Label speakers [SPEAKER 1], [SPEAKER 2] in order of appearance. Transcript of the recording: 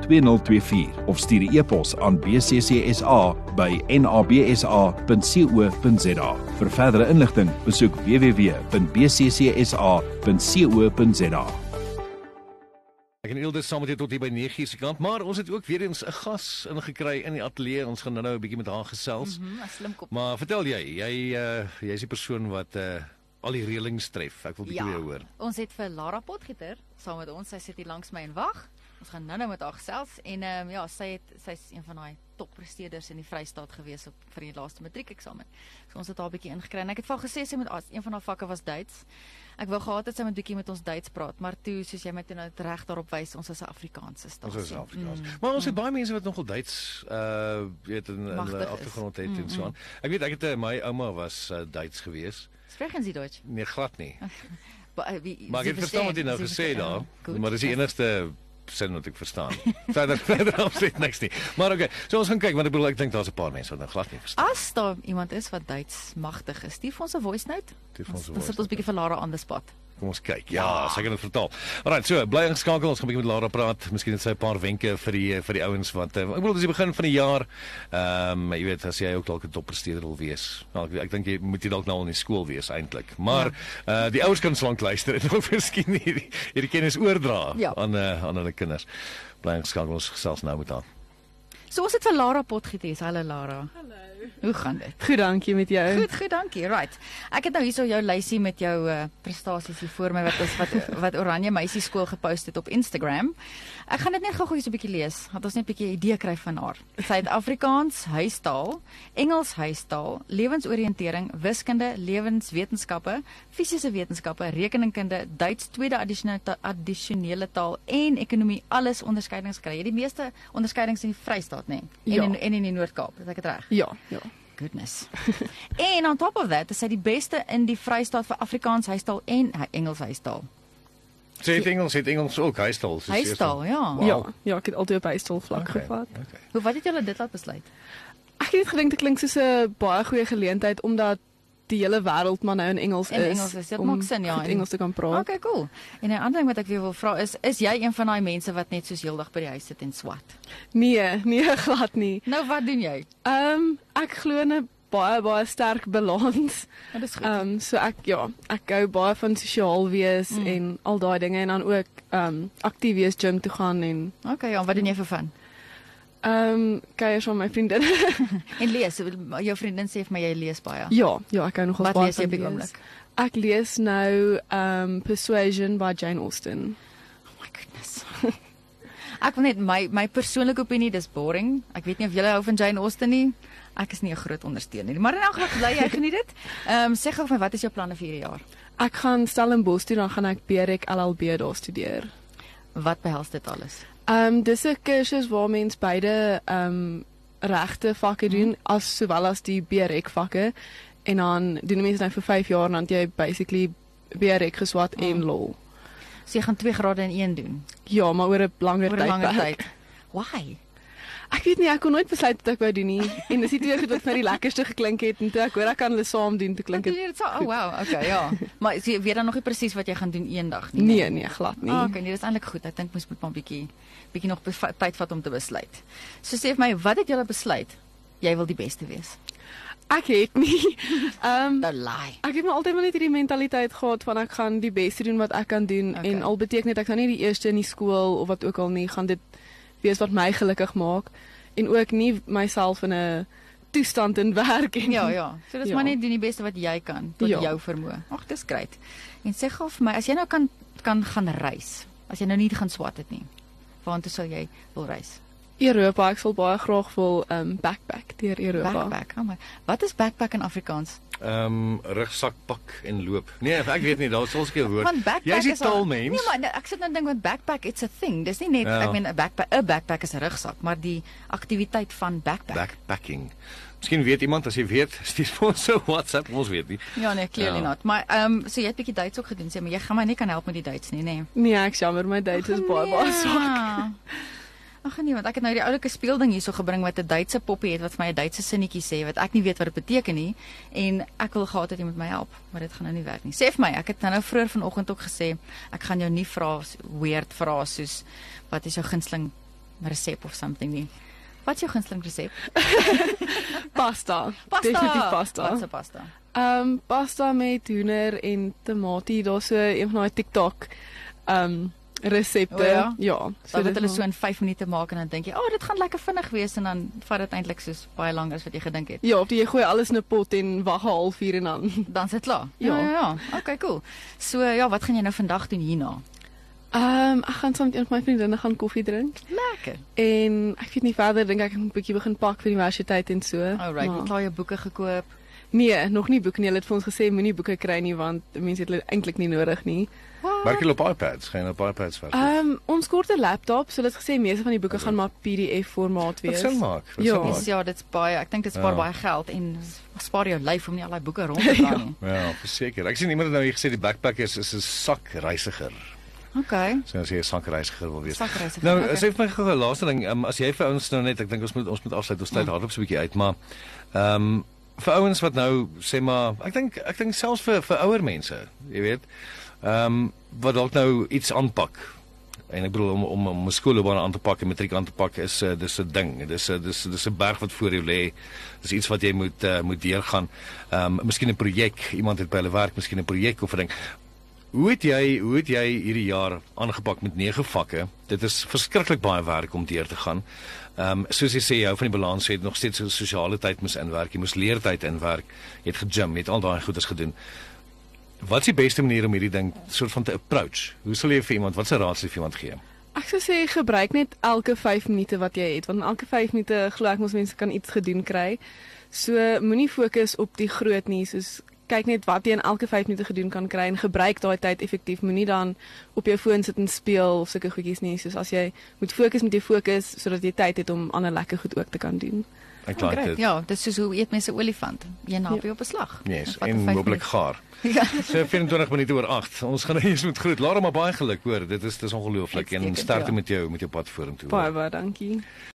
[SPEAKER 1] 2024 of stuur 'n e-pos aan bccsa by nabsa.co.za. Vir verdere inligting, besoek www.bccsa.co.za.
[SPEAKER 2] Ek en Ilde saam met jou tot hier by 9:00 se kant, maar ons het ook weer eens 'n gas ingekry in die ateljee. Ons gaan nou-nou 'n bietjie met haar gesels.
[SPEAKER 3] Mm, 'n slim kop.
[SPEAKER 2] Maar vertel jy, jy uh jy's die persoon wat uh al die reëlings tref. Ek wil
[SPEAKER 3] Ja.
[SPEAKER 2] bietjie weer hoor.
[SPEAKER 3] Ons het vir Lara Potgieter saam met ons. Sy sit hier langs my en wag. Ons gaan nou-nou met haar gesels en ehm um, ja, sy het sy's een van daai toppresteerders in die Vrystaat gewees op vir die laaste matriekeksamen. So ons het haar 'n bietjie ingekry en ek het vir haar gesê sy moet as een van haar vakke was Duits. Ek wou gehad het sy moet bietjie met ons Duits praat, maar toe soos jy my toe nou reg daarop wys, ons is 'n Afrikaanse
[SPEAKER 2] Ons
[SPEAKER 3] stasie.
[SPEAKER 2] is Afrikaans. Mm. Maar ons het baie mense wat nogal Duits uh weet in in
[SPEAKER 3] Machtig
[SPEAKER 2] hulle
[SPEAKER 3] is.
[SPEAKER 2] agtergrond het mm, en so aan. Ek weet ek het uh, my ouma was uh, Duits gewees.
[SPEAKER 3] Spreken Sie Deutsch?
[SPEAKER 2] Nee, glad nie.
[SPEAKER 3] Ba- eh, wie-
[SPEAKER 2] Maar
[SPEAKER 3] Sie
[SPEAKER 2] ek het verstaan wat jy nou
[SPEAKER 3] Sie
[SPEAKER 2] gesê
[SPEAKER 3] verstehen.
[SPEAKER 2] daar,
[SPEAKER 3] Goed.
[SPEAKER 2] maar dis die enigste sin wat ek verstaan. Verder verder absoluut niks nie. Maar okay, so ons gaan kyk want ek bedoel ek dink daar's 'n paar mense wat nou glad nie verstaan.
[SPEAKER 3] As daar iemand is wat Duits magtig is, stuur vir ons 'n voice note.
[SPEAKER 2] Stuur vir ons 'n
[SPEAKER 3] Dan
[SPEAKER 2] voice
[SPEAKER 3] sit ons bietjie vir Lara aan die spot.
[SPEAKER 2] Kom ons kyk. Ja, sy kan dit vertaal. Alrite, so bly ingeskakel. Ons gaan 'n bietjie met Lara praat. Miskien het sy 'n paar wenke vir die vir die ouens wat eh, ek bedoel dis die begin van die jaar. Ehm jy weet as jy ook dalk 'n toppresteerder wil wees. Nou ek, ek dink jy moet jy dalk nou al in die skool wees eintlik. Maar eh uh, die ouers kan slank luister en ook miskien hierdie hierdie kennis oordra
[SPEAKER 3] Ja.
[SPEAKER 2] aan uh, aan hulle kinders. Bly ingeskakel. Ons gesels nou met haar.
[SPEAKER 3] So ons het vir Lara Potgiet hier. Hallo Lara. Hallo. Hoe gaan dit?
[SPEAKER 4] Goed, dankie met jou.
[SPEAKER 3] Goed, goed, dankie. Right. Ek het nou hierso jou lysie met jou uh, prestasies hier voor my wat ons wat wat Oranje Meisie Skool gepost het op Instagram. Ek gaan dit net gou-gou so 'n bietjie lees, dat ons net 'n bietjie 'n idee kry van haar. Sy het Afrikaans huistaal, Engels huistaal, lewensoriëntering, wiskunde, lewenswetenskappe, fisiese wetenskappe, rekeningkunde, Duits tweede addisionele ta- addisionele taal en ekonomie alles onderskeidings kry. Jy het die meeste onderskeidings in die Vrystaat, nê? Nee? En
[SPEAKER 4] Ja.
[SPEAKER 3] in, en in die Noord-Kaap, is ek dit reg?
[SPEAKER 4] Ja, ja.
[SPEAKER 3] Goodness. en on top of that, is hy die beste in die Vrystaat vir Afrikaans huistaal en hy- Engels huistaal.
[SPEAKER 2] Sy het Engels, sy het Engels ook huistaal. sy is eerste-
[SPEAKER 3] Huistaal, ja.
[SPEAKER 2] Wow.
[SPEAKER 4] Ja, ja, ek het altyd op huisstoel vlak okay. gevat.
[SPEAKER 2] Okay.
[SPEAKER 3] Hoe wat het julle dit laat besluit?
[SPEAKER 4] Ek het net gedink dit klink soos 'n baie goeie geleentheid omdat die hele wêreld maar nou in Engels
[SPEAKER 3] In
[SPEAKER 4] is.
[SPEAKER 3] Engels is, dit
[SPEAKER 4] om
[SPEAKER 3] maak sin, ja,
[SPEAKER 4] goed
[SPEAKER 3] en-
[SPEAKER 4] Engels te kan praat.
[SPEAKER 3] Okay, cool. En 'n ander ding wat ek weer wil vra is, is jy een van daai mense wat net soos heeldag by die huis sit en swat?
[SPEAKER 4] Nee, nee, glad nie.
[SPEAKER 3] Nou wat doen jy?
[SPEAKER 4] Ehm um, ek glo in 'n baie baie sterk balans.
[SPEAKER 3] Dit is goed.
[SPEAKER 4] Ehm um, so ek ja, ek gou baie van sosiaal wees mm. en al daai dinge en dan ook ehm um, aktief wees, gym toe gaan en
[SPEAKER 3] Okay, ja, wat doen jy vir van?
[SPEAKER 4] ehm um, kuier saam met my vriendinne.
[SPEAKER 3] En lees, jou vriendin sê vir my jy lees baie.
[SPEAKER 4] Ja, ja, ek hou nogal
[SPEAKER 3] Wat
[SPEAKER 4] baie
[SPEAKER 3] lees jy
[SPEAKER 4] van
[SPEAKER 3] op die
[SPEAKER 4] lees.
[SPEAKER 3] oomblik?
[SPEAKER 4] Ek lees nou um Persuasion by Jane Austen.
[SPEAKER 3] Oh my goodness. Ek wil net my my persoonlike opinie dis boring. Ek weet nie of julle hou van Jane Austen nie. Ek is nie 'n groot ondersteuner nie, maar in elk geval bly jy geniet dit. Ehm sê gou vir my wat is jou planne vir hierdie jaar?
[SPEAKER 4] Ek gaan Stellenbosch toe dan gaan ek Berek LLB daar studeer.
[SPEAKER 3] Wat behels dit alles?
[SPEAKER 4] Um dis 'n kursus waar mens beide um regte vakke
[SPEAKER 3] Mhm.
[SPEAKER 4] doen mm. as sowel as die Berek vakke en dan doen mense nou vir 5 jaar en dan het jy basically Berek geswat mm.
[SPEAKER 3] Mhm.
[SPEAKER 4] en law.
[SPEAKER 3] So jy gaan 2 grade in een doen
[SPEAKER 4] Ja, maar oor 'n langer
[SPEAKER 3] oor 'n langer
[SPEAKER 4] tydperk.
[SPEAKER 3] tyd. Why?
[SPEAKER 4] Ek weet nie, ek kon nooit besluit wat ek wou doen nie en dis nie twee goed wat vir die lekkerste geklink het en toe ek hoor ek kan hulle saam doen,
[SPEAKER 3] Want
[SPEAKER 4] toe klink
[SPEAKER 3] jy
[SPEAKER 4] dit
[SPEAKER 3] weet dit so, oh wow, okay, ja. Maar so jy weet dan nog nie presies wat jy gaan doen eendag nie.
[SPEAKER 4] nee nee glad nie.
[SPEAKER 3] Ah, okay, nee, dis eintlik goed. Ek dink mens moet maar 'n bietjie bietjie nog beva- tyd vat om te besluit. So sê vir my, wat het julle besluit? Jy wil die beste wees.
[SPEAKER 4] Ek het nie. Ehm um,
[SPEAKER 3] Nou lie.
[SPEAKER 4] ek het maar altyd maar net hierdie mentaliteit gehad van ek gaan die beste doen wat ek kan doen
[SPEAKER 3] Okay.
[SPEAKER 4] okay. en al beteken dit ek nou nie die eerste in die skool of wat ook al nie, gaan dit wees wat my gelukkig maak en ook nie myself in 'n toestand in werk en
[SPEAKER 3] Ja, ja. So dis ja.
[SPEAKER 4] Ja.
[SPEAKER 3] maar net doen die beste wat jy kan tot ja.
[SPEAKER 4] Ja.
[SPEAKER 3] jou vermoë. Ag, dis great. En sê gou vir my, as jy nou kan kan gaan reis, as jy nou nie gaan swat het nie, waartoe sal jy wil reis?
[SPEAKER 4] Europa, ek sal baie graag wil um backpack deur Europa.
[SPEAKER 3] Backpack. Oh my. Wat is backpack in Afrikaans?
[SPEAKER 2] Ehm um, rugsak pak en loop. Nee, ek weet nie, daar sou seker 'n woord.
[SPEAKER 3] Want backpack
[SPEAKER 2] Jy's 'n
[SPEAKER 3] is al-
[SPEAKER 2] taalmens.
[SPEAKER 3] Nee, maar nou, ek sit nou en dink want backpack it's a thing. Dis nie net
[SPEAKER 2] Ja.
[SPEAKER 3] ek meen 'n backpack 'n backpack is 'n rugsak, maar die aktiwiteit van backpack.
[SPEAKER 2] backpacking. Miskien weet iemand as jy weet, stuur vir ons 'n WhatsApp, ons weet nie.
[SPEAKER 3] Ja nee, clearly
[SPEAKER 2] Ja.
[SPEAKER 3] not. Maar ehm um, so jy het bietjie Duits ook gedoen, sê maar jy gaan my nie kan help met die Duits nie, nê? Nee.
[SPEAKER 4] Nee, ek is jammer, my date is baie baie swak.
[SPEAKER 3] Ag nee, want ek het nou die oulike speelding hierso gebring wat 'n Duitse poppie het wat vir my 'n Duitse sinnetjie sê wat ek nie weet wat dit beteken nie en ek wil gehad het jy moet my help, maar dit gaan nou nie werk nie. Sê vir my, ek het nou nou vroeër vanoggend ook gesê ek gaan jou nie vra s- weird vrae soos wat is jou gunsteling resep of something nie. Wat is jou gunsteling resep?
[SPEAKER 4] Pasta. Definitief pasta.
[SPEAKER 3] Wat se pasta?
[SPEAKER 4] Ehm um, pasta met hoender en tamatie, daar's so een van daai TikTok ehm um, resepte.
[SPEAKER 3] O ja?
[SPEAKER 4] ja,
[SPEAKER 3] So dit
[SPEAKER 4] dis
[SPEAKER 3] hulle
[SPEAKER 4] maar-
[SPEAKER 3] so in 5 minute maak en dan dink jy, "O, oh, dit gaan lekker vinnig wees" en dan vat dit eintlik soos baie lank as wat jy gedink het.
[SPEAKER 4] Ja, of jy gooi alles in 'n pot en wag 'n halfuur en dan.
[SPEAKER 3] Dan sit klaar.
[SPEAKER 4] Ja.
[SPEAKER 3] ja, ja. Okay, cool. So ja, wat gaan jy nou vandag doen hierna?
[SPEAKER 4] Ehm um, ek gaan saam met een van my vriendinne gaan koffie drink
[SPEAKER 3] Lekker.
[SPEAKER 4] en ek weet nie verder dink ek ek moet 'n bietjie begin pak vir die universiteit en so.
[SPEAKER 3] Alright, jy
[SPEAKER 4] maar-
[SPEAKER 3] het al jou boeke gekoop.
[SPEAKER 4] Nee, nog nie boek nie. Hulle het vir ons gesê moenie boeke kry nie want mense het hulle eintlik nie nodig nie.
[SPEAKER 2] Werk jy op iPads? Gaan jy op iPads werk?
[SPEAKER 4] Ehm um, ons kort 'n laptop, so hulle het gesê meeste van die boeke gaan maar PDF formaat
[SPEAKER 2] Wat
[SPEAKER 4] wees.
[SPEAKER 2] sin maak? Wat
[SPEAKER 4] Ja.
[SPEAKER 2] sin maak?
[SPEAKER 3] Dis ja, dit's baie. Ek dink dit spaar
[SPEAKER 2] Ja.
[SPEAKER 3] baie geld en spaar jou lyf om nie al daai boeke rond te dra nie.
[SPEAKER 2] Ja, verseker. Ek sien iemand het nou hier gesê die backpackers is 'n sakreisiger.
[SPEAKER 3] Okay.
[SPEAKER 2] So as jy 'n sakreisiger wil wees.
[SPEAKER 3] Sakreisiger,
[SPEAKER 2] Nou,
[SPEAKER 3] okay.
[SPEAKER 2] sê vir my gou 'n laaste ding, um, as jy vir ouens nou net, ek dink ons moet ons moet afsluit. Ons tyd hardop so 'n bietjie uit, maar ehm um, vir ouens wat nou sê maar, ek dink ek dink selfs vir vir ouer mense, jy weet, ehm um, wat dalk nou iets aanpak. En ek bedoel om om om 'n skoolloopbaan aan te pak en matriek aan te pak is uh, dis 'n ding. Dis 'n dis dis 'n berg wat voor jou lê. Dis iets wat jy moet uh, moet deurgaan. Ehm um, miskien 'n projek, iemand het by hulle werk, miskien 'n projek of 'n ding. Hoe het jy hoe het jy hierdie jaar aangepak met nege vakke? Dit is verskriklik baie werk om deur te gaan. Ehm um, soos jy sê jy hou van die balans, jy het nog steeds so sosiale tyd moes inwerk, jy moes leertyd inwerk, jy het gegym, jy het al daai goeders gedoen. Wat is die beste manier om hierdie ding soort van te approach? Hoe sal jy vir iemand, wat se raad sal jy vir iemand gee?
[SPEAKER 4] Ek sou sê gebruik net elke 5 minute wat jy het want in elke 5 minute glo ek mos mense kan iets gedoen kry. So moenie fokus op die groot nie, soos kyk net wat jy in elke 5 minute gedoen kan kry en gebruik daai tyd effektief. Moenie dan op jou foon sit en speel of sulke goedjies nie, soos as jy moet fokus met jou fokus sodat jy tyd het om ander lekker goed ook te kan doen.
[SPEAKER 2] Ek
[SPEAKER 3] Oh,
[SPEAKER 2] laat
[SPEAKER 3] great.
[SPEAKER 2] dit.
[SPEAKER 3] Ja, dis soos hoe eet mense olifant. Jy
[SPEAKER 4] Ja.
[SPEAKER 3] naby op 'n slag.
[SPEAKER 2] Yes,
[SPEAKER 3] Dit vat
[SPEAKER 2] en
[SPEAKER 3] vijf
[SPEAKER 2] moontlik
[SPEAKER 3] minute.
[SPEAKER 2] gaar.
[SPEAKER 3] Ja.
[SPEAKER 2] So 24 minute oor 8. Ons gaan eers met groet. Laat hom maar baie geluk hoor. Dit is dis ongelooflik en
[SPEAKER 3] Uitstekend,
[SPEAKER 2] sterkte
[SPEAKER 3] ja.
[SPEAKER 2] met jou met jou pad vorentoe. hoor.
[SPEAKER 4] Baie baie dankie.